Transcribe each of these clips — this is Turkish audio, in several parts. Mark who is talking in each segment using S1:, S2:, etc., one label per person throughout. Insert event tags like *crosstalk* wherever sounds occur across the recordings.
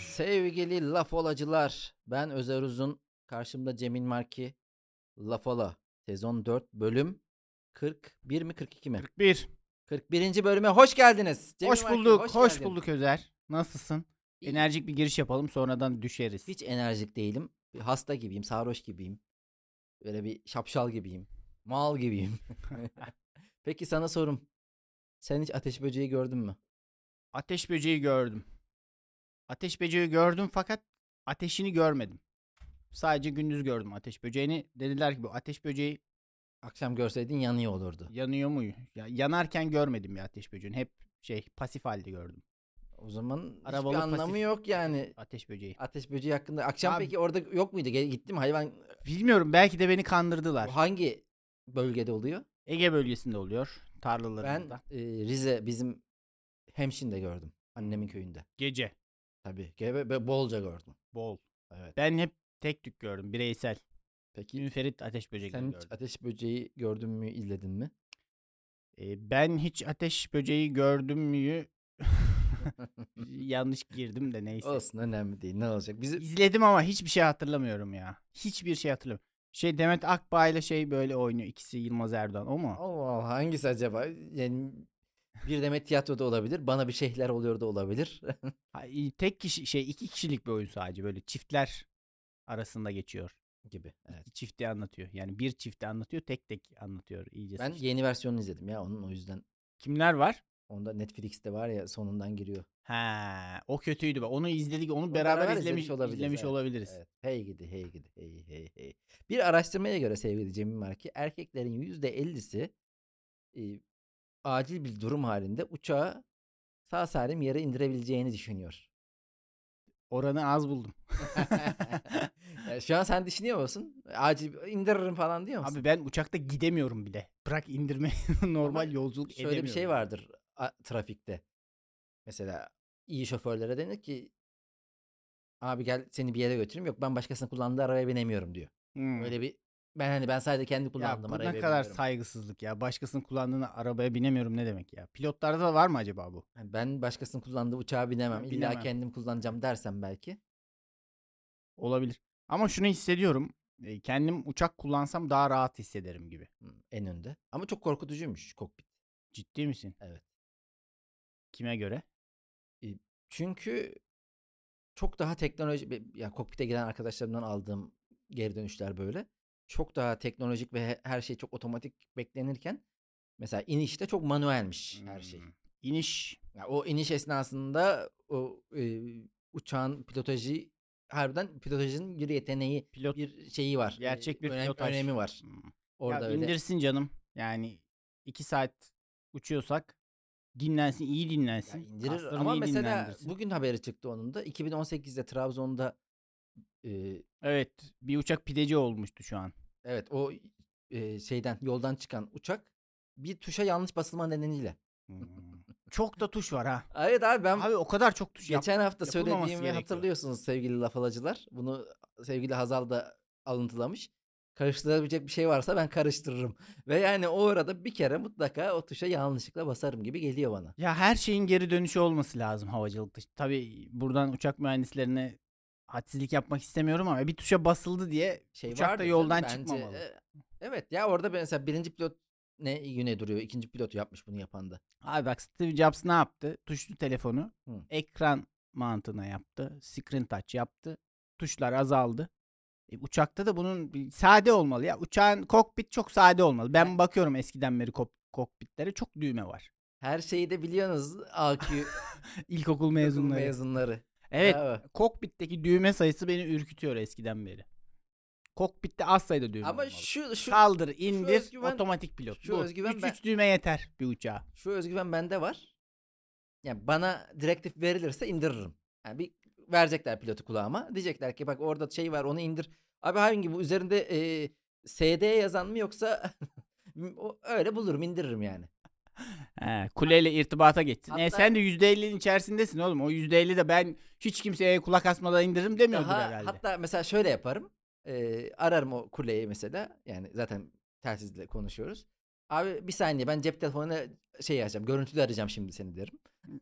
S1: Sevgili lafolacılar, ben Özer Uzun, karşımda Cemil Marki, Lafola, sezon 4 bölüm 41 mi 42 mi?
S2: 41.
S1: 41. bölüme hoş geldiniz. Cemil
S2: hoş
S1: Marki,
S2: bulduk, hoş,
S1: geldin.
S2: bulduk Özer. Nasılsın?
S1: İyi.
S2: Enerjik bir giriş yapalım sonradan düşeriz.
S1: Hiç enerjik değilim, Bir hasta gibiyim, sarhoş gibiyim, böyle bir şapşal gibiyim, mal
S2: *laughs*
S1: gibiyim. *laughs* Peki sana sorum, sen hiç ateş böceği gördün mü?
S2: Ateş böceği gördüm. Ateş böceği gördüm fakat ateşini görmedim. Sadece gündüz gördüm ateş böceğini. Dediler ki bu ateş böceği
S1: Akşam görseydin yanıyor olurdu.
S2: yanıyor mu? Ya, yanarken görmedim ya ateş böceğini. Hep şey pasif halde gördüm
S1: O zaman
S2: Arabalı
S1: hiçbir anlamı
S2: pasif.
S1: yok yani.
S2: ateş böceği.
S1: Ateş böceği hakkında. Akşam
S2: Abi-
S1: peki orada yok muydu? Ge- Gittim hayvan
S2: Bilmiyorum belki de beni kandırdılar.
S1: Bu hangi bölgede oluyor?
S2: Ege bölgesinde oluyor tarlalarında.
S1: Ben e, Rize bizim Hemşin'de gördüm. Annemin köyünde.
S2: Gece
S1: Tabii. Gebe, be- bolca gördüm.
S2: bol.
S1: Evet.
S2: Ben hep tek tük gördüm bireysel.
S1: Peki
S2: Münferit ateş böceği
S1: sen
S2: gördüm.
S1: hiç ateş böceği gördün mü, izledin mi?
S2: E, ben hiç ateş böceği gördüm
S1: *laughs*
S2: mü? Yanlış girdim de neyse.
S1: Olsun önemli değil. Ne olacak? Bizi
S2: İzledim ama hiçbir şey hatırlamıyorum ya. Hiçbir şey hatırlamıyorum. Şey Demet Akbağ ile şey böyle oynuyor. İkisi Yılmaz Erdoğan o mu?
S1: Allah Allah hangisi acaba? Yani bir demet tiyatroda olabilir. Bana bir şeyler oluyor da olabilir. *laughs*
S2: Ha, i- Tek kişi şey iki kişilik bir oyun sadece böyle çiftler arasında geçiyor.
S1: gibi. Evet.
S2: İki çifti anlatıyor. Yani bir çifti anlatıyor tek tek anlatıyor iyice.
S1: Ben yeni versiyonunu izledim ya onun o yüzden.
S2: Kimler var?
S1: Onda Netflix'te var ya sonundan giriyor.
S2: Ha, o kötüydü. be. Onu izledik. Onu beraber,
S1: beraber
S2: izlemiş,
S1: izlemiş olabiliriz,
S2: izlemiş
S1: evet,
S2: olabiliriz.
S1: Evet. Hey gidi hey gidi hey hey hey. Bir araştırmaya göre sevgili Cemil Marki erkeklerin %50'si e, acil bir durum halinde uçağı sağ salim yere indirebileceğini düşünüyor.
S2: *laughs* Oranı az buldum.
S1: Yani şu an sen düşünüyor musun? Acil indiririm falan diyor musun?
S2: Abi ben uçakta gidemiyorum bile. Bırak indirme *laughs* normal
S1: Ama
S2: yolculuk
S1: Şöyle bir şey
S2: edemiyorum.
S1: vardır a- trafikte. Mesela iyi şoförlere denir ki abi gel seni bir yere götüreyim. Yok ben başkasının kullandığı arabaya binemiyorum diyor.
S2: Hmm.
S1: Öyle bir ben hani ben sadece kendi
S2: ya
S1: kullandım
S2: bu
S1: arabaya
S2: ne kadar
S1: biniyorum.
S2: saygısızlık ya. Başkasının kullandığını arabaya binemiyorum ne demek ya. Pilotlarda da var mı acaba bu?
S1: Yani Hani, ben başkasının kullandığı uçağa binemem.
S2: Ben
S1: İlla
S2: binemem.
S1: kendim kullanacağım dersem belki.
S2: Olabilir. Ama şunu hissediyorum. e, Kendim uçak kullansam daha rahat hissederim gibi.
S1: Hı, En önde. Ama çok korkutucuymuş kokpit.
S2: Ciddi misin?
S1: Evet.
S2: Kime göre?
S1: Çünkü çok daha teknoloji be- ya kokpite giren arkadaşlarımdan aldığım geri dönüşler böyle. Çok daha teknolojik ve he- her şey çok otomatik beklenirken mesela inişte çok manuelmiş her şey.
S2: Hmm. İniş.
S1: Ya o iniş esnasında o e, uçağın pilotajı harbiden pilotajın bir yeteneği
S2: Pilot.
S1: bir şeyi var. e,
S2: Gerçek bir
S1: önem-
S2: pilotaj.
S1: önemi var.
S2: Hmm.
S1: Orada
S2: ya
S1: öyle
S2: indirsin canım. Yani iki saat uçuyorsak dinlensin, iyi
S1: Ya
S2: dinlensin.
S1: indirir
S2: kaslarını
S1: ama
S2: iyi
S1: mesela
S2: dinlendirsin.
S1: bugün haberi çıktı onun da 2018'de Trabzon'da e,
S2: Evet, bir uçak pideci olmuştu şu an.
S1: evet o e, şeyden yoldan çıkan uçak bir tuşa yanlış basılma nedeniyle.
S2: Hmm. Çok da tuş var ha.
S1: Evet abi ben
S2: Abi o kadar çok tuş yap.
S1: geçen hafta
S2: yapılmaması
S1: söylediğimi
S2: gerekiyor.
S1: hatırlıyorsunuz sevgili lafalacılar. Bunu sevgili Hazal da alıntılamış. Karıştırabilecek bir şey varsa ben karıştırırım. Ve yani o arada bir kere mutlaka o tuşa yanlışlıkla basarım gibi geliyor bana.
S2: Ya her şeyin geri dönüşü olması lazım havacılıkta. Tabii buradan uçak mühendislerine hadsizlik yapmak istemiyorum ama bir tuşa basıldı diye
S1: şey
S2: Uçak da
S1: vardır canım,
S2: yoldan
S1: bence.
S2: çıkmamalı.
S1: E, Evet ya orada ben- mesela birinci pilot ne güne duruyor. ikinci pilot yapmış bunu yapan da.
S2: Abi bak Steve Jobs ne yaptı? Tuşlu telefonu
S1: Hı.
S2: ekran mantığına yaptı. Screen touch yaptı. Tuşlar azaldı. E, uçakta da bunun bir sade olmalı ya. Uçağın kokpit çok sade olmalı. Ben bakıyorum eskiden beri kok- kokpitlere çok düğme var. *laughs*
S1: Her şeyi de biliyorsunuz AQ
S2: İlkokul
S1: mezunları.
S2: *laughs* mezunları.
S1: mezunları.
S2: Evet.
S1: Bravo.
S2: Kokpitteki düğme sayısı beni ürkütüyor eskiden beri. Kokpitte az sayıda düğme
S1: Ama
S2: olmalı.
S1: şu şu
S2: Kaldır, indir,
S1: özgüven-
S2: otomatik pilot.
S1: şu
S2: Bu.
S1: özgüven
S2: üç,
S1: ben-
S2: üç düğme yeter bir uçağa.
S1: şu özgüven bende var. Yani bana direktif verilirse indiririm. Yani bir verecekler pilotu kulağıma. Diyecekler ki bak orada şey var onu indir. Abi hangi bu üzerinde e, SD yazan mı yoksa *laughs* o- öyle bulurum indiririm yani.
S2: He, kuleyle irtibata geçsin. E
S1: Hatta-
S2: sen de %50'nin içerisindesin oğlum. O %50 de ben hiç kimseye kulak asmadan indiririm demiyordur
S1: Daha-
S2: herhalde.
S1: Hatta mesela şöyle yaparım. Ee, ararım o kuleyi mesela. Yani zaten telsizle konuşuyoruz. Abi bir saniye ben cep telefonuna şey açacağım. Görüntülü arayacağım şimdi seni derim. *laughs*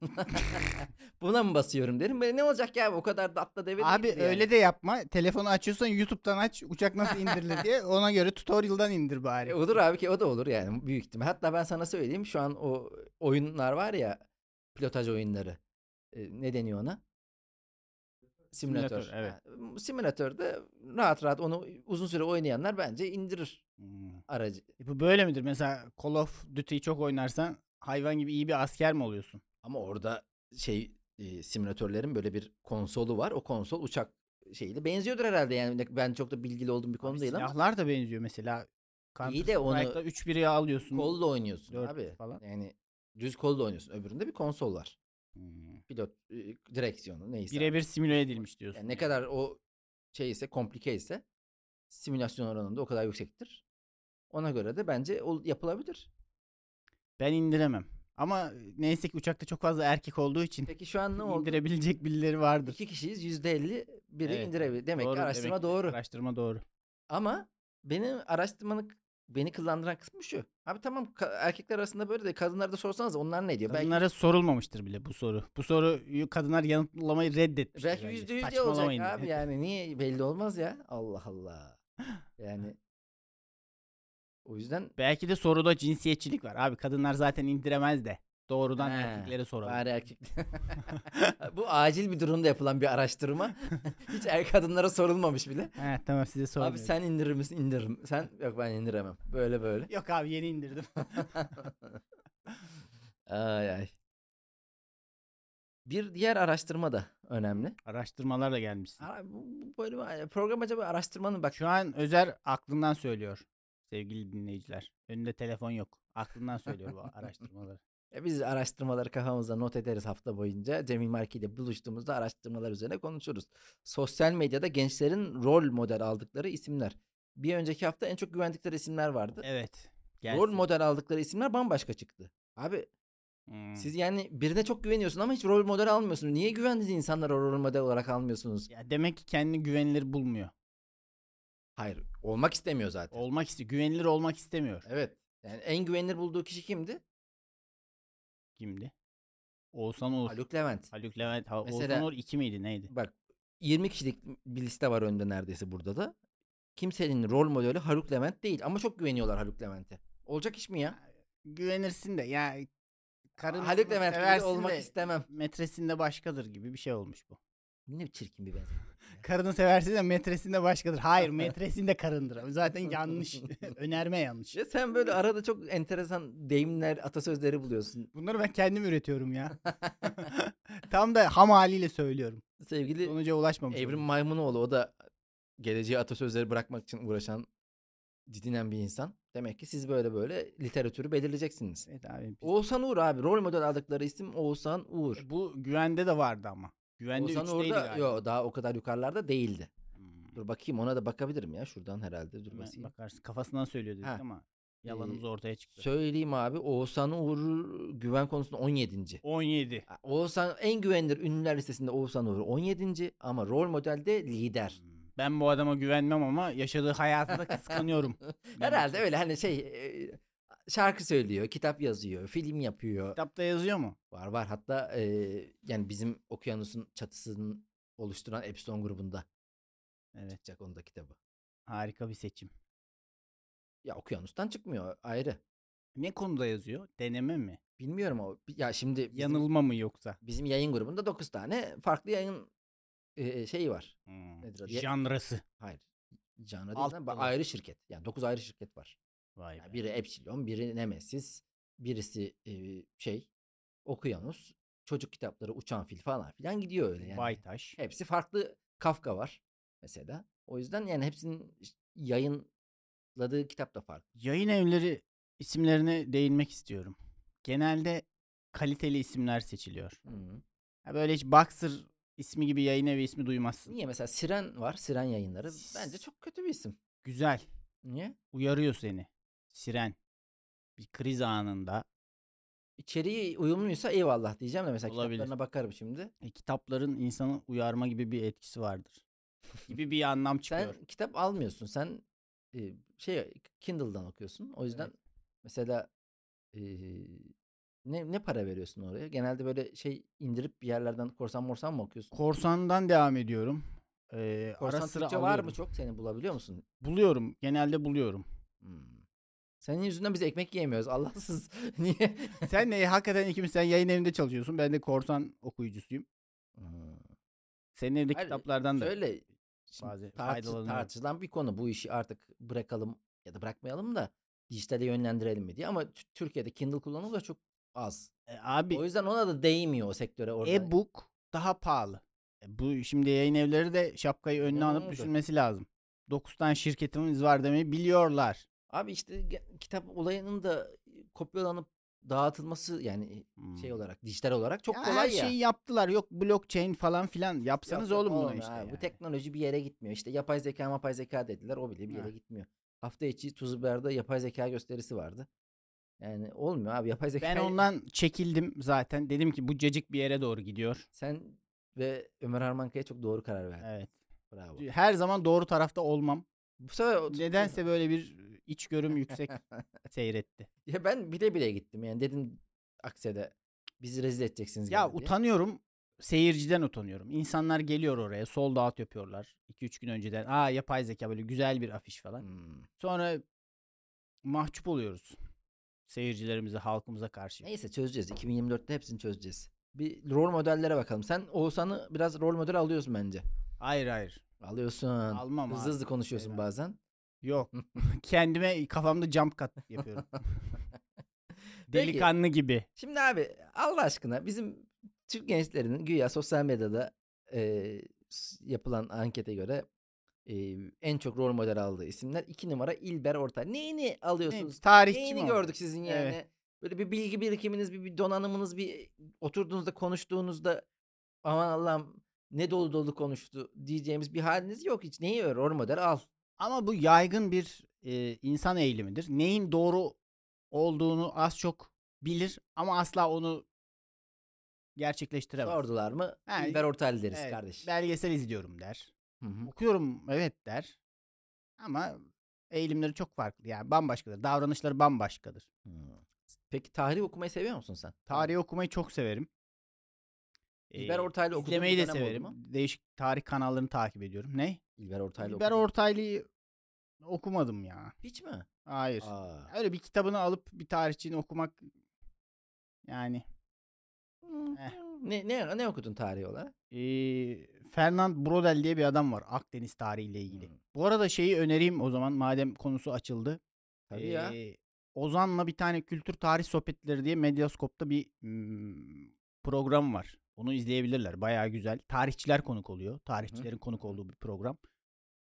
S1: Buna mı basıyorum derim. Ben, ne olacak ya o kadar da atla deve
S2: Abi
S1: değildi yani."
S2: öyle de yapma. Telefonu açıyorsan YouTube'dan aç. Uçak nasıl indirilir diye. Ona göre tutorial'dan indir bari.
S1: E, olur abi ki o da olur yani büyük ihtimal. Hatta ben sana söyleyeyim şu an o oyunlar var ya pilotaj oyunları. E, ne deniyor ona? Simülatör.
S2: Simülatör, evet.
S1: Ha, m- Simülatörde rahat rahat onu uzun süre oynayanlar bence indirir
S2: Hmm.
S1: aracı.
S2: E bu böyle midir? Mesela Call of Duty'yi çok oynarsan hayvan gibi iyi bir asker mi oluyorsun?
S1: Ama orada şey e, simülatörlerin böyle bir konsolu var. O konsol uçak şeyiyle benziyordur herhalde yani Ne- ben çok da bilgili olduğum bir konu
S2: Abi
S1: değil ama
S2: Silahlar da benziyor mesela.
S1: İyi de onu-
S2: 3 biri alıyorsun.
S1: kolla oynuyorsun
S2: Dört
S1: abi.
S2: falan.
S1: Yani düz kolla oynuyorsun. Öbüründe bir konsol var.
S2: Hmm.
S1: Pilot e, direksiyonu neyse.
S2: Birebir simüle edilmiş diyorsun.
S1: Yani ne kadar o şey ise komplike ise simülasyon oranında o kadar yüksektir. Ona göre de bence ol- yapılabilir.
S2: Ben indiremem. Ama neyse ki uçakta çok fazla erkek olduğu için
S1: Peki şu an ne oldu?
S2: indirebilecek birileri vardır.
S1: İki kişiyiz yüzde elli biri
S2: Evet,
S1: indirebilir. Demek
S2: Doğru,
S1: ki araştırma
S2: demek ki
S1: doğru.
S2: Araştırma doğru.
S1: Ama benim araştırmanın beni kıllandıran kısmı şu. Abi tamam ka- erkekler arasında böyle de kadınlara da sorsanız onlar ne diyor? Belki-
S2: Kadınlara sorulmamıştır bile bu soru. Bu soruyu kadınlar yanıtlamayı reddetmiştir.
S1: Belki
S2: bence.
S1: yüzde yüz diye olacak
S2: şey Saçmalamayın. *laughs*
S1: abi yani niye belli olmaz ya Allah Allah yani o yüzden
S2: Belki de soruda cinsiyetçilik var. Abi kadınlar zaten indiremez de. Doğrudan
S1: He,
S2: erkeklere soralım.
S1: bari erkek *laughs* bu acil bir durumda yapılan bir araştırma *laughs* hiç er kadınlara sorulmamış bile
S2: He, tamam size sormuyorum.
S1: abi sen indirir misin indiririm sen yok ben indiremem böyle böyle
S2: Yok abi yeni indirdim. *laughs*
S1: ay ay bir diğer araştırma da önemli.
S2: Araştırmalarla gelmişsin.
S1: Ara- bu- bu Böyle bir- program acaba araştırmanın bak
S2: Şu an Özer aklından söylüyor sevgili dinleyiciler. Önünde telefon yok. Aklından söylüyor
S1: *laughs*
S2: bu araştırmaları.
S1: E, Biz araştırmaları kafamıza not ederiz hafta boyunca. Cemil Marki ile buluştuğumuzda araştırmalar üzerine konuşuruz. Sosyal medyada gençlerin rol model aldıkları isimler. Bir önceki hafta en çok güvendikleri isimler vardı.
S2: Evet.
S1: rol
S2: gelsin.
S1: model aldıkları isimler bambaşka çıktı. Abi
S2: Hmm.
S1: siz yani birine çok güveniyorsun ama hiç rol model almıyorsunuz. Niye güvendiğiniz insanlara rol model olarak almıyorsunuz?
S2: Ya demek ki kendini güvenilir bulmuyor.
S1: Hayır, olmak istemiyor zaten.
S2: Olmak istiyor. Güvenilir olmak istemiyor.
S1: evet. Yani en güvenilir bulduğu kişi kimdi?
S2: Kimdi? Oğuzhan Uğur. Haluk,
S1: Haluk Levent.
S2: Levent. Ha, Oğuzhan
S1: Mesela-
S2: Uğur 2 miydi neydi?
S1: Bak 20 kişilik bir liste var önde neredeyse burada da. Kimsenin rol modeli Haluk Levent değil ama çok güveniyorlar Haluk Levent'e. Olacak iş mi ya?
S2: Güvenirsin de ya karın
S1: Haluk Levent gibi de
S2: seversin
S1: olmak
S2: de
S1: istemem.
S2: metresinde başkadır gibi bir şey olmuş bu.
S1: Ne çirkin bir benzetme.
S2: Karını seversin de metresinde başkadır. Hayır metresinde *laughs* karındır. Zaten yanlış. Önerme yanlış.
S1: Ya sen böyle arada çok enteresan deyimler, atasözleri buluyorsun.
S2: Bunları ben kendim üretiyorum *laughs* ya. Tam da ham haliyle söylüyorum.
S1: Sevgili
S2: Sonuca ulaşmamış.
S1: Evrim
S2: oldum.
S1: Maymunoğlu o da geleceğe atasözleri bırakmak için uğraşan didinen bir insan. Demek ki siz böyle böyle literatürü belirleyeceksiniz.
S2: Evet abi. biz-
S1: Oğuzhan Uğur abi rol model aldıkları isim Oğuzhan Uğur.
S2: E, Bu güvende de vardı ama. Güvende
S1: Oğuzhan
S2: Oğuzhan
S1: Uğur da
S2: galiba.
S1: yo, daha o kadar yukarılarda değildi.
S2: Hmm.
S1: Dur bakayım ona da bakabilirim ya şuradan herhalde dur
S2: Hemen
S1: basayım.
S2: Bakarsın kafasından söylüyor dedik
S1: Ha.
S2: ama yalanımız
S1: Ee,
S2: ortaya çıktı.
S1: Söyleyeyim abi Oğuzhan Uğur güven konusunda 17.
S2: 17.
S1: Ha, Oğuzhan en güvenilir ünlüler listesinde Oğuzhan Uğur 17. ama rol modelde lider.
S2: Hmm. Ben bu adama güvenmem ama yaşadığı hayatı da kıskanıyorum. Hmm,
S1: *laughs*
S2: Ben-
S1: Herhalde öyle hani şey e, şarkı söylüyor, kitap yazıyor, film yapıyor.
S2: Kitapta yazıyor mu?
S1: Var var hatta e, yani bizim okyanusun çatısını oluşturan Epsilon grubunda
S2: Evet.
S1: çıkacak onda kitabı.
S2: Harika bir seçim.
S1: Ya okyanustan çıkmıyor ayrı.
S2: Ne konuda yazıyor? Deneme mi?
S1: Bilmiyorum o. Ya şimdi bizim-
S2: Yanılma mı yoksa?
S1: bizim yayın grubunda 9 tane farklı yayın e, şeyi var.
S2: Hmm.
S1: Nedir adı? Ye-
S2: Janrası.
S1: Hayır. Canlı
S2: Alt
S1: değil lan, ba-
S2: dalı.
S1: ayrı şirket. Yani 9 ayrı şirket var.
S2: Vay
S1: Yani
S2: be.
S1: biri Epsilon, biri Nemesis, birisi e, şey, Okyanus, çocuk kitapları, uçan fil falan filan gidiyor öyle yani.
S2: Baytaş.
S1: Hepsi farklı. Kafka var mesela. O yüzden yani hepsinin yayınladığı kitap da farklı.
S2: Yayın evleri isimlerine değinmek istiyorum. Genelde kaliteli isimler seçiliyor.
S1: Hı.
S2: Ha böyle hiç Boxer ismi gibi yayın evi ismi duymazsın.
S1: Niye mesela Siren var, Siren yayınları. Bence çok kötü bir isim.
S2: Güzel.
S1: Niye?
S2: Uyarıyor seni. Siren. Bir kriz anında.
S1: İçeriği uyumluysa eyvallah diyeceğim de mesela
S2: Olabilir.
S1: kitaplarına bakarım şimdi.
S2: E, kitapların insanı uyarma gibi bir
S1: *laughs*
S2: etkisi vardır. Gibi bir anlam çıkıyor.
S1: Sen kitap almıyorsun. Sen e, şey Kindle'dan okuyorsun. O yüzden mesela e, Ne, ne para veriyorsun oraya? Genelde böyle şey indirip bir yerlerden korsan morsan mı okuyorsun?
S2: Korsan'dan devam ediyorum. Ee,
S1: Korsan
S2: ara sıra
S1: Türkçe var
S2: alıyorum.
S1: mı çok? Seni bulabiliyor musun?
S2: Buluyorum. Genelde buluyorum.
S1: Hmm. Senin yüzünden biz ekmek yiyemiyoruz. *laughs* Allahsız. Niye?
S2: sen ne? Hakikaten ikimiz sen yayın evinde çalışıyorsun. Ben de korsan okuyucusuyum.
S1: Hmm.
S2: Senin evde
S1: Hayır,
S2: kitaplardan da.
S1: Şöyle şimdi
S2: Bazı
S1: tartı-
S2: faydalanıyorum.
S1: tartışılan bir konu. Bu işi artık bırakalım ya da bırakmayalım da dijitale yönlendirelim mi diye. Ama Tü- Türkiye'de Kindle kullanımı da çok az.
S2: E, abi
S1: O yüzden ona da değmiyor o sektöre orada.
S2: e-book daha pahalı. E, bu şimdi yayın evleri de şapkayı önüne
S1: Neden
S2: alıp
S1: oldu?
S2: düşünmesi lazım. 9 tane şirketimiz var demeyi biliyorlar.
S1: Abi işte ge- kitap olayının da e, kopyalanıp dağıtılması yani
S2: Hmm.
S1: şey olarak dijital olarak çok
S2: Ya
S1: kolay
S2: her
S1: ya.
S2: şeyi yaptılar. Yok blockchain falan filan.
S1: Yok,
S2: Yapsanız
S1: yok
S2: oğlum bunu
S1: olmuyor
S2: işte.
S1: abi. Bu
S2: yani.
S1: teknoloji bir yere gitmiyor. İşte yapay zeka yapay zeka dediler. O bile bir yere
S2: Ha.
S1: gitmiyor. Hafta içi Tuzber'de yapay zeka gösterisi vardı. Yani olmuyor abi yapay zeka.
S2: Ben ondan çekildim zaten. Dedim ki bu cacık bir yere doğru gidiyor.
S1: Sen ve Ömer Harmankaya çok doğru karar verdin.
S2: Evet.
S1: Bravo.
S2: Her zaman doğru tarafta olmam.
S1: Bu sefer o-
S2: Nedense böyle bir içgörüm yüksek seyretti.
S1: *laughs* ya ben bile bile gittim yani dedim Akse'de bizi rezil edeceksiniz.
S2: Ya
S1: gene diye.
S2: utanıyorum. Seyirciden utanıyorum. İnsanlar geliyor oraya. Sol dağıt yapıyorlar. 2-3 gün önceden. Aa yapay zeka böyle güzel bir afiş falan.
S1: Hmm.
S2: Sonra mahcup oluyoruz. Seyircilerimize, halkımıza karşı.
S1: Neyse çözeceğiz. 2024'te hepsini çözeceğiz. Bir rol modellere bakalım. Sen Oğuzhan'ı biraz rol model alıyorsun bence.
S2: Hayır hayır.
S1: Alıyorsun.
S2: Almam
S1: hızlı
S2: abi.
S1: hızlı konuşuyorsun
S2: Sevmem.
S1: bazen.
S2: Yok. *laughs* Kendime kafamda jump cut
S1: *laughs*
S2: yapıyorum. Delikanlı gibi.
S1: Şimdi abi Allah aşkına bizim Türk gençlerinin güya sosyal medyada e, s- yapılan ankete göre e, en çok rol model aldığı isimler 2 numara İlber Ortay. Neyini
S2: Ne,
S1: alıyorsunuz?
S2: tarihçi mi
S1: Neyini
S2: o?
S1: gördük sizin yani?
S2: Evet.
S1: Böyle bir bilgi birikiminiz, bir, bir donanımınız, bir oturduğunuzda konuştuğunuzda aman Allah'ım ne dolu dolu konuştu diyeceğimiz bir haliniz yok hiç. Neyi öyle rol model al.
S2: Ama bu yaygın bir e, insan eğilimidir. Neyin doğru olduğunu az çok bilir ama asla onu gerçekleştiremez.
S1: Sordular mı?
S2: Ha,
S1: İlber Ortaylı deriz
S2: Evet,
S1: kardeş.
S2: Belgesel izliyorum der.
S1: Hı hı.
S2: Okuyorum evet der. Ama eğilimleri çok farklı. Yani bambaşkadır. Davranışları bambaşkadır.
S1: Hmm. Peki tarih okumayı seviyor musun sen?
S2: Tarihi okumayı çok severim.
S1: İlber
S2: Ee,
S1: Ortaylı okuduğun
S2: İzlemeyi
S1: bir
S2: de
S1: dönem oldu
S2: severim.
S1: mu?
S2: Değişik tarih kanallarını takip ediyorum. Ne?
S1: İlber Ortaylı
S2: İlber
S1: okudun mu?
S2: Ortaylı'yı okumadım ya.
S1: Hiç mi?
S2: Hayır.
S1: Aa.
S2: Öyle bir kitabını alıp bir tarihçini okumak yani Eh.
S1: Ne, ne, ne okudun tarihi olarak?
S2: Ee, Fernand Brodel diye bir adam var Akdeniz tarihiyle ilgili.
S1: Hmm.
S2: Bu arada şeyi önereyim o zaman madem konusu açıldı.
S1: Tabii ya.
S2: Ee, Ozan'la bir tane kültür tarih sohbetleri diye Medyaskop'ta bir hmm, program var. Onu izleyebilirler. Bayağı güzel. Tarihçiler konuk oluyor. Tarihçilerin konuk olduğu bir program.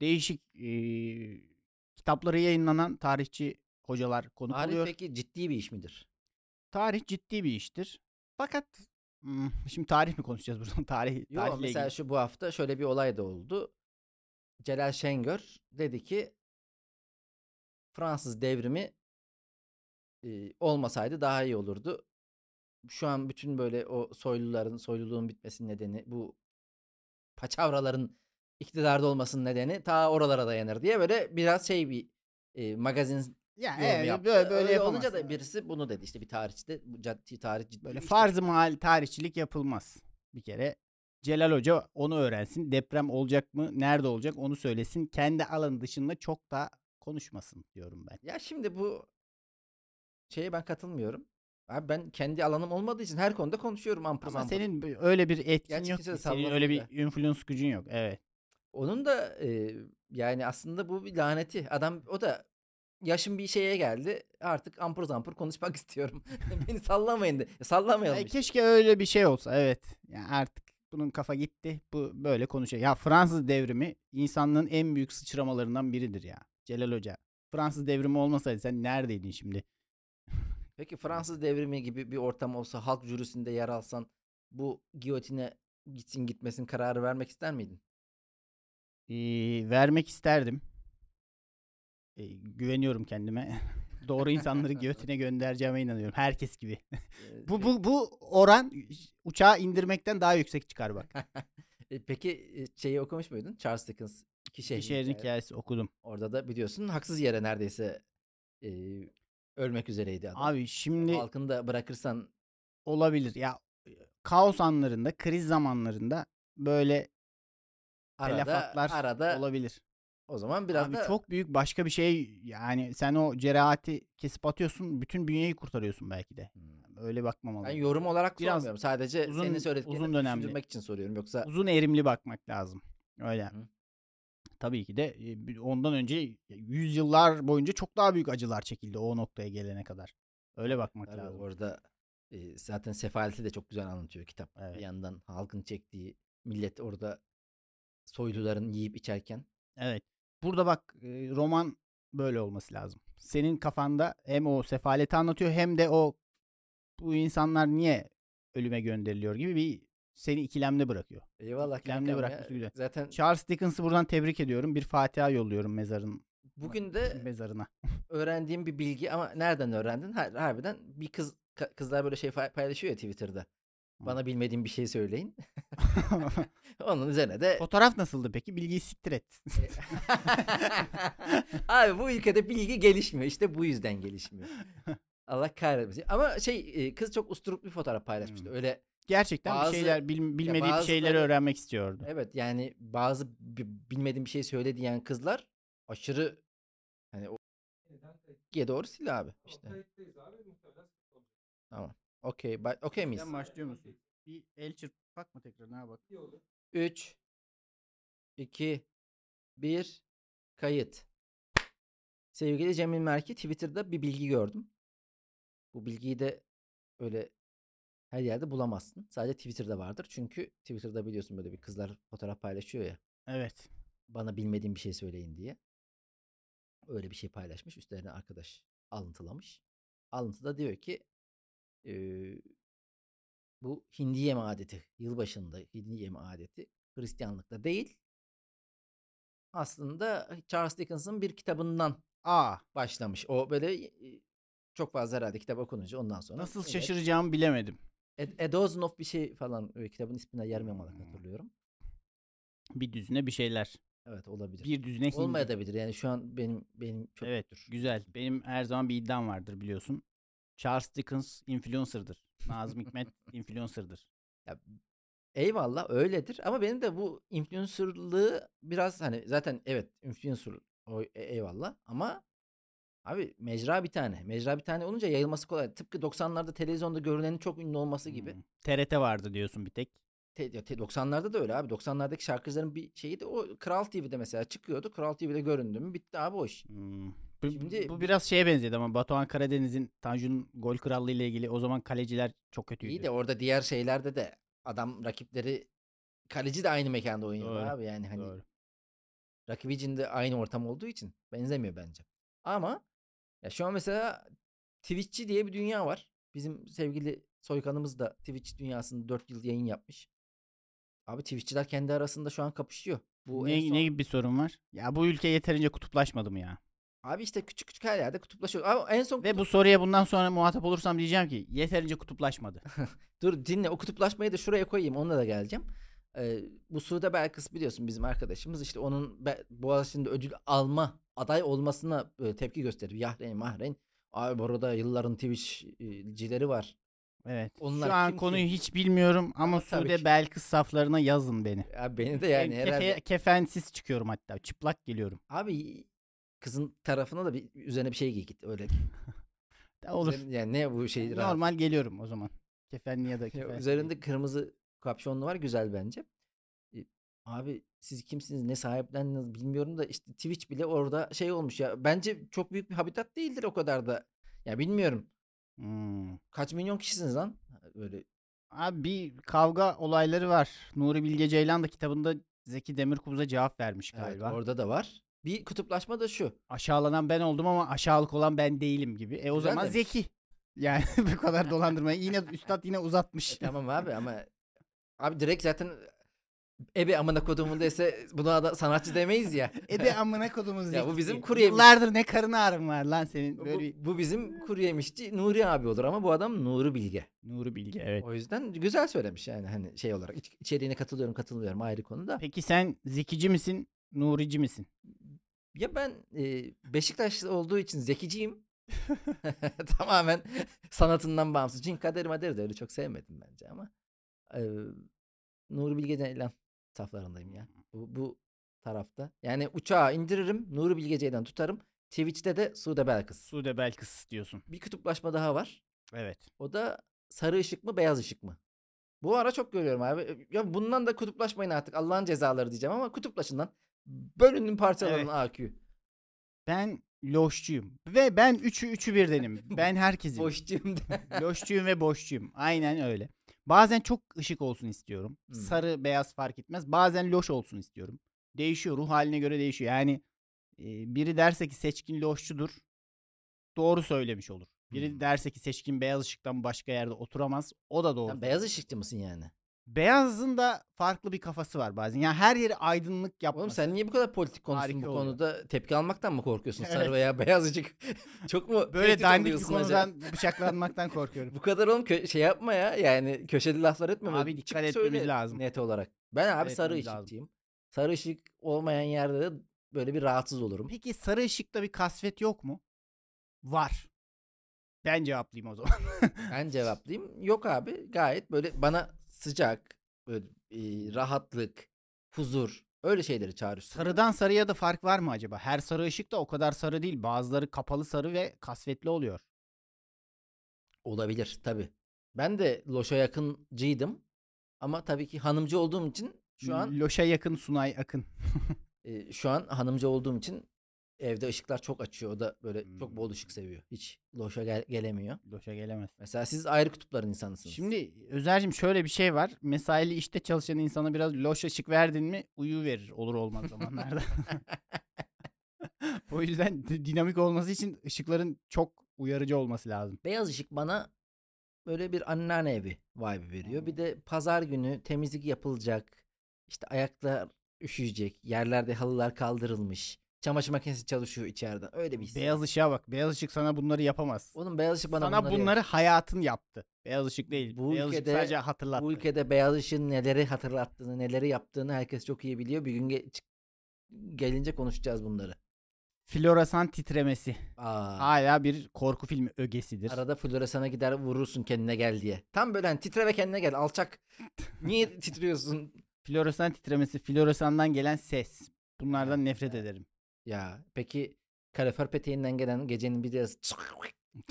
S2: Değişik ee, kitapları yayınlanan tarihçi hocalar konuk
S1: Tarih
S2: oluyor.
S1: peki ciddi bir iş midir?
S2: Tarih ciddi bir iştir. Fakat hmm, şimdi tarih mi konuşacağız *laughs* buradan? Tarih, tarihle
S1: Yok mesela
S2: ilgili.
S1: şu bu hafta şöyle bir olay da oldu. Celal Şengör dedi ki Fransız devrimi e, olmasaydı daha iyi olurdu. Şu an bütün böyle o soyluların, soyluluğun bitmesinin nedeni bu paçavraların iktidarda olmasının nedeni ta oralara dayanır diye böyle biraz şey bir e, magazin
S2: Ya
S1: yorum
S2: evet,
S1: yaptı.
S2: böyle, böyle
S1: Öyle olunca da
S2: yapamazsın.
S1: birisi bunu dedi işte bir tarihçi de bu ciddi tarih ciddi
S2: Böyle
S1: işte
S2: farz-ı mahal tarihçilik yapılmaz. Bir kere Celal Hoca onu öğrensin. Deprem olacak mı? Nerede olacak? Onu söylesin. Kendi alanı dışında çok da konuşmasın diyorum ben.
S1: Ya şimdi bu şeye ben katılmıyorum. Abi ben kendi alanım olmadığı için her konuda konuşuyorum ampır
S2: Ama
S1: ampır.
S2: senin b- öyle bir etkin
S1: Gerçi
S2: yok.
S1: kimse de
S2: ki, Senin öyle bir
S1: sallamıyor
S2: influence gücün yok. Evet.
S1: Onun da e, yani aslında bu bir laneti. Adam o da yaşım bir şeye geldi. Artık ampır zampır konuşmak *laughs* istiyorum. Beni sallamayın de. E, Sallamayalım
S2: E,
S1: işte.
S2: keşke öyle bir şey olsa. Evet. Yani artık bunun kafa gitti. Bu böyle konuşuyor. Ya Fransız devrimi insanlığın en büyük sıçramalarından biridir ya. Celal Hoca. Fransız devrimi olmasaydı sen neredeydin şimdi?
S1: Peki Fransız devrimi gibi bir ortam olsa halk jürisinde yer alsan bu giyotine gitsin gitmesin kararı vermek ister miydin?
S2: Ee, vermek isterdim. Ee, güveniyorum kendime. *laughs* Doğru insanları *laughs* götüne göndereceğime inanıyorum. Herkes gibi. *laughs*
S1: E,
S2: Bu bu bu oran uçağı indirmekten daha yüksek çıkar *laughs* bak.
S1: e, Peki e, şeyi okumuş muydun? Charles Dickens iki şehrin
S2: Bir şehrin
S1: hikayesi.
S2: hikayesi okudum.
S1: Orada da biliyorsun haksız yere neredeyse e, ölmek üzereydi adam.
S2: Abi şimdi
S1: Halkını da bırakırsan
S2: olabilir. Ya e, kaos anlarında, kriz zamanlarında böyle
S1: Arada,
S2: telafatlar
S1: arada
S2: olabilir.
S1: o zaman biraz
S2: Abi
S1: da
S2: çok büyük başka bir şey yani sen o cerahati kesip atıyorsun, bütün bünyeyi kurtarıyorsun belki de.
S1: Hmm.
S2: Öyle bakmamalı.
S1: ben yorum olarak
S2: Biraz
S1: sormuyorum. Sadece
S2: uzun-
S1: senin söylediklerini
S2: uzun dönemli.
S1: düşündürmek için soruyorum. Yoksa
S2: uzun erimli bakmak lazım. Öyle.
S1: Hı.
S2: Tabii ki de e, bir- ondan önce yüzyıllar boyunca çok daha büyük acılar çekildi o noktaya gelene kadar. Öyle bakmak
S1: Tabii
S2: lazım.
S1: orada e, zaten sefaleti de çok güzel anlatıyor kitap.
S2: Evet.
S1: Bir yandan halkın çektiği millet orada soyluların yiyip içerken
S2: Evet. Burada bak e, roman böyle olması lazım. Senin kafanda hem o sefaleti anlatıyor hem de o bu insanlar niye ölüme gönderiliyor gibi bir seni ikilemde bırakıyor.
S1: Eyvallah
S2: Kankam
S1: kankam ya.
S2: bırakması güzel.
S1: Zaten
S2: Charles Dickens'ı buradan tebrik ediyorum. Bir Fatiha yolluyorum mezarın
S1: bugün de
S2: mezarına.
S1: *laughs*
S2: *laughs*
S1: öğrendiğim bir bilgi ama nereden öğrendin? Har- Harbiden bir kız ka- kızlar böyle şey fa- paylaşıyor ya Twitter'da. Bana bilmediğim bir şey söyleyin. *laughs* Onun üzerine de
S2: Fotoğraf nasıldı peki? Bilgiyi siktir et.
S1: *laughs* E, Abi bu ülkede bilgi gelişmiyor. İşte bu yüzden gelişmiyor. Allah kahretmesin. Ama şey e, kız çok usturuplu bir fotoğraf paylaşmıştı.
S2: Hmm.
S1: Öyle
S2: Gerçekten bir
S1: Bazı-
S2: şeyler bil- bilmediği bir
S1: bazı
S2: şeyleri
S1: böyle-
S2: öğrenmek istiyordu.
S1: Evet yani bazı bi- bilmediğim bir şey söyle diyen kızlar aşırı hani o G'ye doğru sil abi işte. Tamam. Okey. ba- Okey miyiz?
S2: başlıyor musun? Bir el çırpmak mı tekrar? Ne bak?
S1: 3 2 1 kayıt. Sevgili Cemil Merki Twitter'da bir bilgi gördüm. Bu bilgiyi de öyle her yerde bulamazsın. Sadece Twitter'da vardır. Çünkü Twitter'da biliyorsun böyle bir kızlar fotoğraf paylaşıyor ya.
S2: Evet.
S1: bana bilmediğim bir şey söyleyin diye. Öyle bir şey paylaşmış. Üstlerine arkadaş alıntılamış. Alıntıda diyor ki eee, bu hindi yeme adeti. Yılbaşında hindi yeme adeti Hristiyanlıkta değil. Aslında Charles Dickens'ın bir kitabından
S2: Aa
S1: başlamış. O böyle e, çok fazla herhalde kitap okununca ondan sonra.
S2: nasıl
S1: evet,
S2: şaşıracağımı bilemedim.
S1: A, A Dozen of bir şey falan e, kitabın ismine yer yamalak
S2: Hmm.
S1: hatırlıyorum.
S2: Bir düzüne bir şeyler.
S1: Evet olabilir.
S2: Bir düzüne hindi.
S1: Olmayabilir. Yani şu an benim benim çok
S2: Evet güzel. Benim her zaman bir iddiam vardır biliyorsun. Charles Dickens influencer'dır. Nazım
S1: *laughs*
S2: Hikmet influencer'dır.
S1: Eyvallah öyledir ama benim de bu influencerlığı biraz hani zaten evet influencer o- e- eyvallah ama abi mecra bir tane. Mecra bir tane olunca yayılması kolay. Tıpkı 90'larda televizyonda görünenin çok ünlü olması gibi.
S2: Hmm. TRT vardı diyorsun bir tek.
S1: Te- ya te- 90'larda da öyle abi. 90'lardaki şarkıcıların bir şeyi de o Kral TV'de mesela çıkıyordu. Kral TV'de göründü mü bitti abi o iş.
S2: Hmm. Bu,
S1: Şimdi-
S2: bu biraz şeye benzedi ama Batuhan Karadeniz'in Tanju'nun gol krallığı ile ilgili o zaman kaleciler çok kötüydü.
S1: İyi de orada diğer şeylerde de adam rakipleri kaleci de aynı mekanda oynuyor
S2: Doğru,
S1: abi yani hani
S2: Doğru.
S1: Rakibi için de aynı ortam olduğu için benzemiyor bence. Ama ya şu an mesela Twitch'çi diye bir dünya var. Bizim sevgili soykanımız da Twitch dünyasında 4 yıl yayın yapmış. Abi Twitch'çiler kendi arasında şu an kapışıyor. Bu en
S2: ne,
S1: son-
S2: ne gibi bir sorun var? Ya bu ülke yeterince kutuplaşmadı mı ya?
S1: Abi işte küçük küçük her yerde kutuplaşıyor. Abi en son
S2: Ve bu
S1: kutup-
S2: soruya bundan sonra muhatap olursam diyeceğim ki yeterince kutuplaşmadı.
S1: Dur dinle o kutuplaşmayı da şuraya koyayım onunla da geleceğim. Ee, bu Sude Belkıs biliyorsun bizim arkadaşımız işte onun Be- Boğaziçi'nde ödül alma aday olmasına e, tepki gösterip Yahreyn Mahreyn abi burada yılların Twitch'cileri var
S2: Evet.
S1: Onlar
S2: Şu an
S1: kim
S2: konuyu
S1: ki?
S2: hiç bilmiyorum ama,
S1: Ama tabii
S2: Sude
S1: ki.
S2: Belkıs saflarına yazın beni.
S1: Ya beni de yani
S2: Ben kefe-
S1: herhalde.
S2: kefensiz çıkıyorum hatta. Çıplak geliyorum.
S1: Abi kızın tarafına da bir üzerine bir şey giy git öyle.
S2: Da Olur.
S1: Üzerine- Yani ne bu şey rahat.
S2: Normal geliyorum o zaman. Kefenli ya
S1: *laughs*
S2: da
S1: Ya
S2: kefensiz.
S1: Üzerinde kırmızı kapşonlu var güzel bence. E, Abi siz kimsiniz ne sahiplendiniz bilmiyorum da işte Twitch bile orada şey olmuş ya. Bence çok büyük bir habitat değildir o kadar da. Ya bilmiyorum.
S2: Hmm.
S1: Kaç milyon kişisiniz lan? Böyle
S2: Abi bir kavga olayları var. Nuri Bilge Ceylan da kitabında Zeki Demirkubuz'a cevap vermiş
S1: evet,
S2: galiba.
S1: orada da var. Bir kutuplaşma da şu.
S2: Aşağılanan ben oldum ama aşağılık olan ben değilim gibi. E o
S1: Güzel
S2: zaman
S1: demiş.
S2: Zeki. Yani *laughs* bu kadar dolandırmayı yine üstad yine uzatmış. *laughs*
S1: E tamam abi ama *laughs* abi direkt zaten e, ebe amına kodumun dese buna da sanatçı demeyiz *laughs* ya.
S2: Ebe E, amına kodumuz
S1: Ya bu
S2: Zeki
S1: bizim
S2: diye.
S1: kuru yemiş.
S2: Yıllardır ne karın ağrın var lan senin.
S1: Bu-
S2: Böyle
S1: Bu, bizim kuru yemişçi Nuri abi olur ama bu adam Nuri Bilge.
S2: Nuri Bilge evet.
S1: O yüzden güzel söylemiş yani hani şey olarak iç- içeriğine katılıyorum katılmıyorum ayrı konuda.
S2: Peki sen Zekici misin? Nurici misin?
S1: Ya ben e, Beşiktaşlı olduğu için zekiciyim. *laughs* Tamamen sanatından bağımsız. Cin kader mader de öyle çok sevmedim bence ama. Ee, Nuri Bilge Ceylan saflarındayım ya. Bu, bu tarafta. Yani uçağı indiririm. Nuri Bilge Ceylan tutarım. Twitch'te de Sude Belkıs.
S2: Sude Belkıs diyorsun.
S1: Bir kutuplaşma daha var.
S2: Evet.
S1: O da sarı ışık mı beyaz ışık mı? Bu ara çok görüyorum abi. Ya bundan da kutuplaşmayın artık. Allah'ın cezaları diyeceğim ama kutuplaşın lan. Bölünün parçalanın
S2: Evet.
S1: AQ.
S2: Ben loşçuyum. Ve ben üçü
S1: *laughs*
S2: üçü birdenim. Ben herkesim.
S1: Boşçuyum *laughs* de.
S2: *laughs* Loşçuyum ve boşçuyum. Aynen öyle. Bazen çok ışık olsun istiyorum.
S1: Hmm.
S2: Sarı, beyaz fark etmez. Bazen loş olsun istiyorum. Değişiyor. Ruh haline göre değişiyor. Yani e, biri derse ki seçkin loşçudur. Doğru söylemiş olur. Biri
S1: Hmm.
S2: derse ki seçkin beyaz ışıktan başka yerde oturamaz. O da doğru.
S1: Sen beyaz ışıkçı mısın yani?
S2: Beyazın da farklı bir kafası var bazen. Yani her yeri aydınlık yapması.
S1: Oğlum sen niye bu kadar politik konuştun
S2: Harika
S1: bu
S2: oluyor.
S1: konuda? Tepki almaktan mı korkuyorsun?
S2: Evet.
S1: Sarı veya *laughs* beyaz ışık. Çok mu
S2: Böyle
S1: tehdit
S2: dandik bir
S1: oluyorsun acaba?
S2: konudan
S1: *laughs*
S2: bıçaklanmaktan korkuyorum.
S1: Bu kadar oğlum kö- şey yapma ya. Yani köşeli laflar etme.
S2: Abi
S1: Çık
S2: dikkat
S1: söyle
S2: etmemiz lazım.
S1: Net olarak. Ben abi
S2: Dikkat
S1: sarı
S2: etmemiz lazım.
S1: ışıkçıyım. Sarı ışık olmayan yerde de böyle bir rahatsız olurum.
S2: Peki sarı ışıkta bir kasvet yok mu? Var. Ben cevaplayayım o zaman.
S1: Ben cevaplayayım. Yok abi gayet böyle bana sıcak, böyle e, rahatlık, huzur öyle şeyleri çağırıyor.
S2: Sarıdan sarıya da fark var mı acaba? Her sarı ışık da o kadar sarı değil. Bazıları kapalı sarı ve kasvetli oluyor.
S1: Olabilir tabii. Ben de loşa yakıncıydım. Ama tabii ki hanımcı olduğum için şu an
S2: Loşa yakın Sunay Akın.
S1: E, şu an hanımcı olduğum için evde ışıklar çok açıyor. O da böyle çok bol ışık
S2: Hmm.
S1: seviyor. Hiç loşa gel- gelemiyor.
S2: Loşa gelemez.
S1: Mesela siz ayrı kutupların insanısınız.
S2: Şimdi Özer'cim şöyle bir şey var. Mesaili işte çalışan insana biraz loş ışık verdin mi uyu verir olur olmaz
S1: *laughs*
S2: zamanlarda. *laughs* o yüzden di- dinamik olması için ışıkların çok uyarıcı olması lazım.
S1: beyaz ışık bana böyle bir anneanne evi vibe veriyor. Bir de pazar günü temizlik yapılacak. işte ayaklar üşüyecek. Yerlerde halılar kaldırılmış. Çamaşır makinesi çalışıyor içeriden. Öyle bir his.
S2: Beyaz ışığa bak. Beyaz ışık sana bunları yapamaz.
S1: Oğlum beyaz ışık bana
S2: Sana
S1: bunları,
S2: bunları, hayatın yaptı. Beyaz ışık değil.
S1: Bu
S2: Beyaz
S1: ülkede-
S2: ışık sadece hatırlattı.
S1: Bu ülkede beyaz ışığın neleri hatırlattığını, neleri yaptığını herkes çok iyi biliyor. Bir gün ge- çık- gelince konuşacağız bunları.
S2: Floresan titremesi.
S1: Aa.
S2: Hala bir korku filmi ögesidir.
S1: Arada floresana gider vurursun kendine gel diye. Tam böyle hani titre ve kendine gel alçak. Niye titriyorsun?
S2: Floresan titremesi, floresandan gelen ses. Bunlardan nefret ederim.
S1: Ya peki kalorifer peteğinden gelen gecenin bir diğer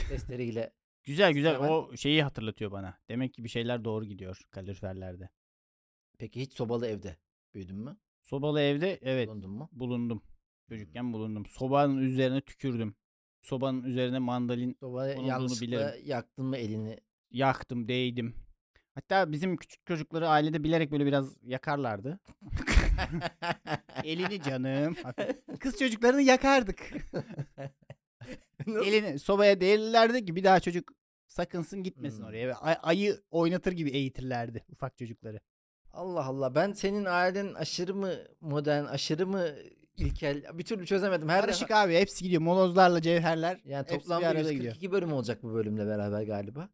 S1: sesleriyle
S2: Güzel güzel
S1: Hemen-
S2: o şeyi hatırlatıyor bana. Demek ki bir şeyler doğru gidiyor kaloriferlerde.
S1: peki hiç sobalı evde büyüdün mü?
S2: Sobalı evde evet
S1: Bulundun mu?
S2: bulundum. Çocukken bulundum. Sobanın üzerine tükürdüm. Sobanın üzerine mandalin
S1: Soba
S2: Bulunduğunu
S1: yanlışlıkla
S2: bilirim.
S1: yaktın mı
S2: *laughs*
S1: elini?
S2: yaktım, değdim. Hatta bizim küçük çocukları ailede bilerek böyle biraz yakarlardı. Elini canım. hafif. Kız çocuklarını yakardık.
S1: *laughs* Nasıl?
S2: Elini sobaya değerlerdi ki bir daha çocuk sakınsın gitmesin
S1: Hmm.
S2: oraya. Ve ay- ayı oynatır gibi eğitirlerdi ufak çocukları.
S1: *laughs* Allah Allah ben senin ailen aşırı mı modern aşırı mı ilkel bir türlü çözemedim. Her şey
S2: Karışık abi hepsi gidiyor. Molozlarla cevherler.
S1: Yani
S2: hepsi bir
S1: toplam
S2: arada
S1: 142
S2: gidiyor.
S1: bölüm olacak bu bölümle beraber galiba.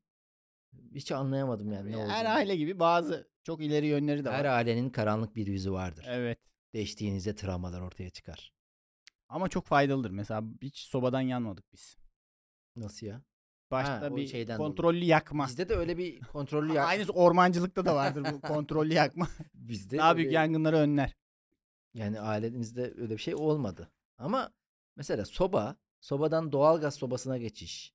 S1: Hiç anlayamadım yani ne olduğunu.
S2: Her aile gibi bazı çok ileri yönleri de var.
S1: Her ailenin karanlık bir yüzü vardır.
S2: Evet.
S1: Değiştiğinizde travmalar ortaya çıkar.
S2: Ama çok faydalıdır. Mesela hiç sobadan yanmadık biz.
S1: Nasıl ya?
S2: Başta
S1: o
S2: bir
S1: şeyden dolayı.
S2: kontrollü yakma.
S1: Bizde de öyle bir kontrollü yak.
S2: Aynısı ormancılıkta da vardır
S1: *laughs*
S2: bu kontrollü yakma.
S1: Bizde
S2: daha
S1: öyle-
S2: büyük yangınları önler.
S1: Yani ailemizde öyle bir şey olmadı. Ama mesela soba, sobadan doğalgaz sobasına geçiş.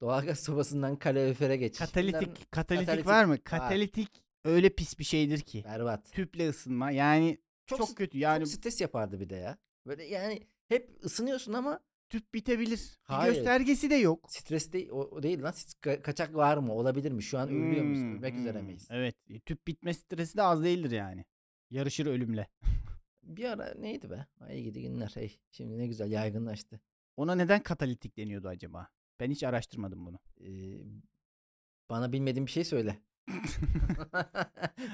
S1: Doğalgaz *laughs* sobasından kalorifere geçiş. Bunların
S2: Katalitik, katalitik,
S1: katalitik
S2: var mı?
S1: var.
S2: Katalitik öyle pis bir şeydir ki.
S1: berbat.
S2: Tüple ısınma yani
S1: Çok,
S2: çok,
S1: s-
S2: kötü. Yani
S1: çok stres yapardı bir de ya. Böyle yani hep ısınıyorsun ama
S2: tüp bitebilir.
S1: Hayır.
S2: Bir göstergesi de yok.
S1: stres değil, o, o değil lan. Stres- ka- kaçak var mı? Olabilir mi? Şu an ölüyor musun?
S2: Hmm,
S1: Ölmek üzere
S2: hmm.
S1: miyiz?
S2: Evet. E, Tüp bitme stresi de az değildir yani. Yarışır ölümle.
S1: Bir ara neydi be? Ay gidi günler. Hey, şimdi ne güzel yaygınlaştı.
S2: Ona neden katalitik deniyordu acaba? Ben hiç araştırmadım bunu.
S1: Ee, bana bilmediğin bir şey
S2: *laughs*
S1: söyle. *laughs*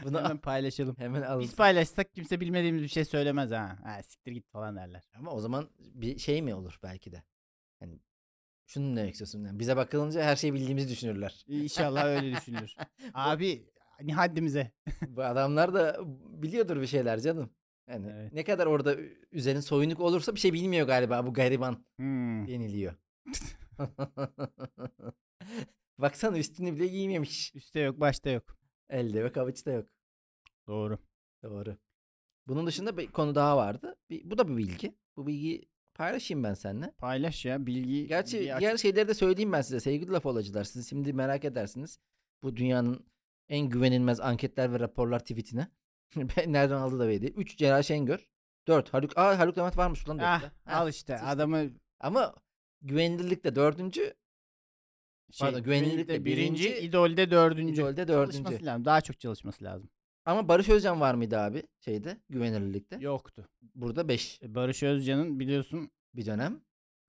S1: Bunu
S2: Hemen
S1: hemen, *laughs*
S2: paylaşalım.
S1: hemen
S2: Biz
S1: alırsın.
S2: paylaşsak kimse bilmediğimiz bir şey söylemez ha. Ha siktir git falan derler.
S1: Ama o zaman bir şey mi olur belki de? Yani şunu demek istiyorsun. Yani bize bakılınca her şeyi bildiğimizi düşünürler.
S2: İnşallah
S1: *laughs*
S2: öyle düşünülür. Abi hani haddimize.
S1: Bu adamlar da biliyordur bir şeyler canım. Yani
S2: Evet.
S1: ne kadar orada üzerin soyunuk olursa bir şey bilmiyor galiba bu gariban
S2: Hmm.
S1: deniliyor. *laughs* Baksana üstünü bile giymemiş.
S2: Üste yok başta yok.
S1: Elde ve kavuçta yok.
S2: Doğru.
S1: Doğru. Bunun dışında bir konu daha vardı. Bir- bu da bir bilgi. Bu bilgiyi paylaşayım ben seninle.
S2: Paylaş ya bilgi.
S1: Gerçi
S2: bilgi aç-
S1: diğer şeyleri de söyleyeyim ben size sevgili laf olacılar. Siz şimdi merak edersiniz. Bu dünyanın en güvenilmez anketler ve raporlar tweetine. *laughs* Ben Nereden aldı da belli. 3 Celal Şengör. 4 Haluk. Aa Haluk Levent varmış lan
S2: Ah,
S1: dörtte. Ha.
S2: al işte
S1: işte.
S2: adamı
S1: Ama güvenilirlik de dördüncü.
S2: şey,
S1: Pardon, güvenilirlik
S2: güvenilirlikte
S1: de birinci,
S2: idolde dördüncü.
S1: Golde dördüncü.
S2: Çalışması lazım. Daha çok çalışması lazım.
S1: Ama Barış Özcan var mıydı abi şeyde güvenilirlikte?
S2: Yoktu.
S1: Burada 5
S2: E, Barış Özcan'ın biliyorsun
S1: bir dönem.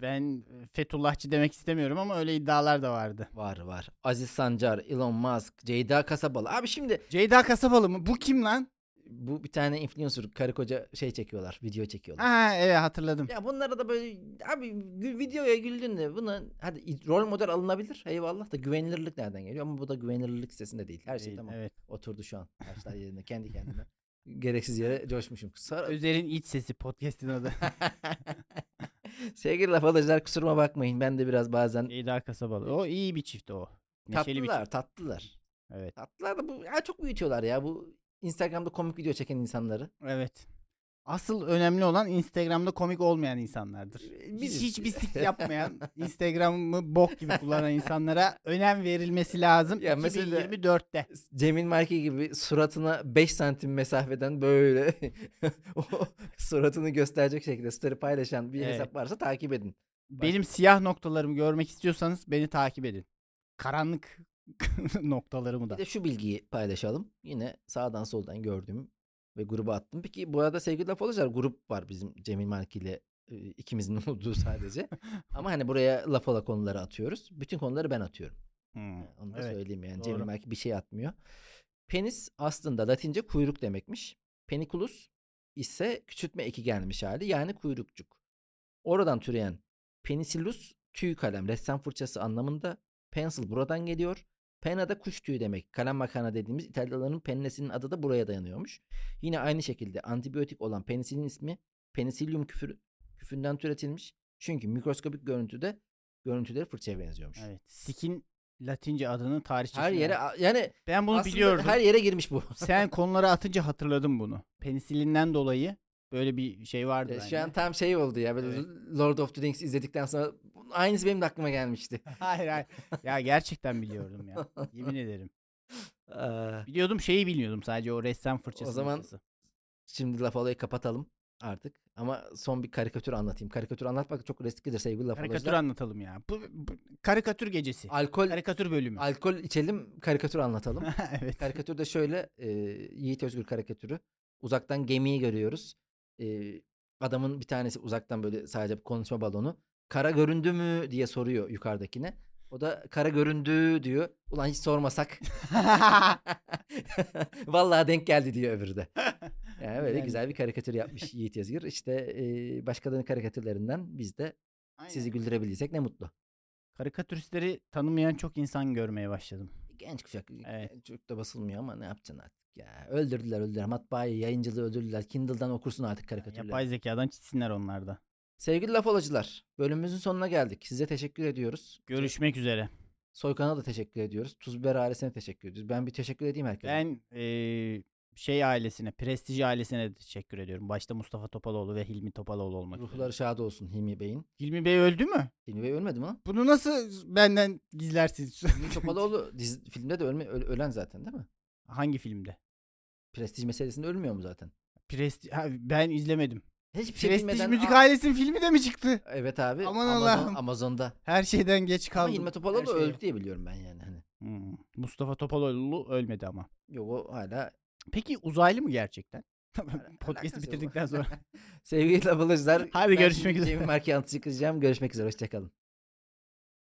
S2: ben e, Fethullahçı demek istemiyorum ama öyle iddialar da vardı.
S1: Var var. Aziz Sancar, Elon Musk, Ceyda Kasabalı. Abi şimdi
S2: Ceyda Kasabalı mı? Bu kim lan?
S1: bu bir tane influencer karı koca şey çekiyorlar. Video çekiyorlar.
S2: Ha evet hatırladım.
S1: Ya bunlara da böyle abi gü- videoya güldün de buna hadi i- rol model alınabilir. Eyvallah da güvenilirlik nereden geliyor? Ama bu da güvenilirlik sitesinde değil. Her şey
S2: Değil,
S1: tamam.
S2: Evet.
S1: Oturdu
S2: *laughs*
S1: şu an. Taşlar yerine kendi kendine. Gereksiz yere coşmuşum. Kusura,
S2: Özer'in iç sesi
S1: *laughs*
S2: podcast'in adı.
S1: Sevgili laf alıcılar kusuruma bakmayın. Ben de biraz bazen
S2: Ceyda Kasabalı. O iyi bir çift o. E, Neşeli bir
S1: tatlılar,
S2: çift.
S1: tatlılar.
S2: Evet.
S1: Tatlılar da bu ya çok büyütüyorlar ya bu Instagram'da komik video çeken insanları.
S2: Evet. Asıl önemli olan Instagram'da komik olmayan insanlardır.
S1: Ee,
S2: Hiç
S1: biziz. *laughs*
S2: hiçbir sik yapmayan, Instagram'ı bok gibi kullanan insanlara önem verilmesi lazım.
S1: Ya mesela-
S2: 2024'te.
S1: Cemil Marki gibi suratına 5 santim mesafeden böyle *laughs* o suratını gösterecek şekilde story paylaşan bir
S2: Evet.
S1: hesap varsa takip edin.
S2: Benim siyah noktalarımı görmek istiyorsanız beni takip edin. Karanlık *laughs* noktalarımı da.
S1: Bir de şu bilgiyi paylaşalım. Yine sağdan soldan gördüğüm ve gruba attım. Peki bu arada sevgili laf olacaklar grup var bizim Cemil Marki ile e, ikimizin *laughs* olduğu sadece. Ama hani buraya laf ola konuları atıyoruz. Bütün konuları ben atıyorum.
S2: Hmm,
S1: Yani Ee, Onu da
S2: evet.
S1: söyleyeyim yani. Cemil
S2: doğru.
S1: Marki bir şey atmıyor. Penis aslında Latince kuyruk demekmiş. Peniculus ise küçültme eki gelmiş hali yani kuyrukçuk. Oradan türeyen penicillus tüy kalem ressam fırçası anlamında. Pencil buradan geliyor. Pena da kuş tüyü demek. Kalem makarna dediğimiz İtalyaların pennesinin adı da buraya dayanıyormuş. Yine aynı şekilde antibiyotik olan penisilin ismi penisillum küfür, küfünden türetilmiş. Çünkü mikroskopik görüntüde görüntüleri fırçaya benziyormuş.
S2: Evet. Sikin Latince adının tarihçesi.
S1: Her yere a- yani
S2: ben bunu
S1: aslında
S2: biliyordum.
S1: her yere girmiş bu.
S2: Sen konulara atınca hatırladım bunu. Penisilinden dolayı böyle bir şey *laughs* vardı.
S1: Ee, Şu
S2: bende.
S1: an tam şey oldu ya böyle
S2: Evet.
S1: Lord of the Rings izledikten sonra aynısı benim de aklıma gelmişti. *laughs*
S2: hayır hayır. Ya gerçekten biliyordum ya. Yemin ederim.
S1: Aa,
S2: Biliyordum şeyi bilmiyordum sadece o ressam fırçası.
S1: Ah. zaman-
S2: fırçası.
S1: Şimdi laf olayı kapatalım artık ama son bir karikatür anlatayım. Karikatür anlatmak çok risklidir sevgili laf
S2: karikatür
S1: olayıcılar.
S2: anlatalım ya. Bu, bu- karikatür gecesi.
S1: Alkol,
S2: karikatür bölümü.
S1: alkol içelim karikatür anlatalım.
S2: *laughs*
S1: *laughs*
S2: evet.
S1: Karikatür de şöyle e, Yiğit Özgür karikatürü. Uzaktan gemiyi görüyoruz. E, adamın bir tanesi uzaktan böyle sadece bir konuşma balonu. Kara göründü mü diye soruyor yukarıdakine. O da kara göründü diyor. Ulan hiç sormasak. *laughs* Vallahi denk geldi diyor öbürü
S2: *laughs*
S1: de. Yani böyle
S2: Güzelmiş.
S1: güzel bir karikatür yapmış Yiğit Özgür. İşte e, başkalarının karikatürlerinden biz de sizi
S2: *laughs* Aynen.
S1: güldürebildiysek ne mutlu.
S2: Karikatüristleri tanımayan çok insan görmeye başladım.
S1: Genç kuşak
S2: Evet.
S1: çok da basılmıyor ama ne yapacaksın artık ya. Öldürdüler öldürdüler. Matbaayı, yayıncılığı öldürdüler. Kindle'dan okursun artık karikatürleri.
S2: Yapay zekadan çitsinler onlar da.
S1: Sevgili laf olacılar, bölümümüzün sonuna geldik. Size teşekkür ediyoruz.
S2: Görüşmek üzere.
S1: Soykan'a da teşekkür ediyoruz. Tuzber ailesine teşekkür ediyoruz. Ben bir teşekkür edeyim herkese.
S2: Ben eee, şey ailesine, prestij ailesine de teşekkür ediyorum. Başta Mustafa Topaloğlu ve Hilmi Topaloğlu olmak üzere.
S1: Ruhları şad olsun Hilmi Bey'in.
S2: Hilmi Bey öldü mü?
S1: Hilmi Bey ölmedi mi lan?
S2: Bunu nasıl benden gizlersiniz?
S1: Hilmi
S2: *laughs*
S1: Topaloğlu dizi- filmde de ölme, ö- ölen zaten değil mi?
S2: Hangi filmde?
S1: Prestij meselesinde ölmüyor mu zaten?
S2: Presti ha, ben izlemedim.
S1: Hiçbir şey
S2: Prestij
S1: bilmeden...
S2: Müzik
S1: Aa,
S2: Ailesi'nin filmi de mi çıktı?
S1: Evet abi.
S2: Aman
S1: Amazon-
S2: Allah'ım.
S1: Amazon'da.
S2: Her şeyden geç
S1: Ama
S2: kaldım.
S1: Hilmi
S2: Her
S1: Topaloğlu
S2: şeye-
S1: öldü diye biliyorum ben yani. Hani.
S2: Hmm. Mustafa Topaloğlu ölmedi ama.
S1: Yok o hala
S2: Peki uzaylı mı gerçekten?
S1: alakası
S2: Podcast'ı
S1: yok.
S2: bitirdikten sonra.
S1: *laughs* Sevgili ablaçlar.
S2: Hadi görüşmek üzere.
S1: Cemil Marki anlatacak Görüşmek üzere. Hoşçakalın.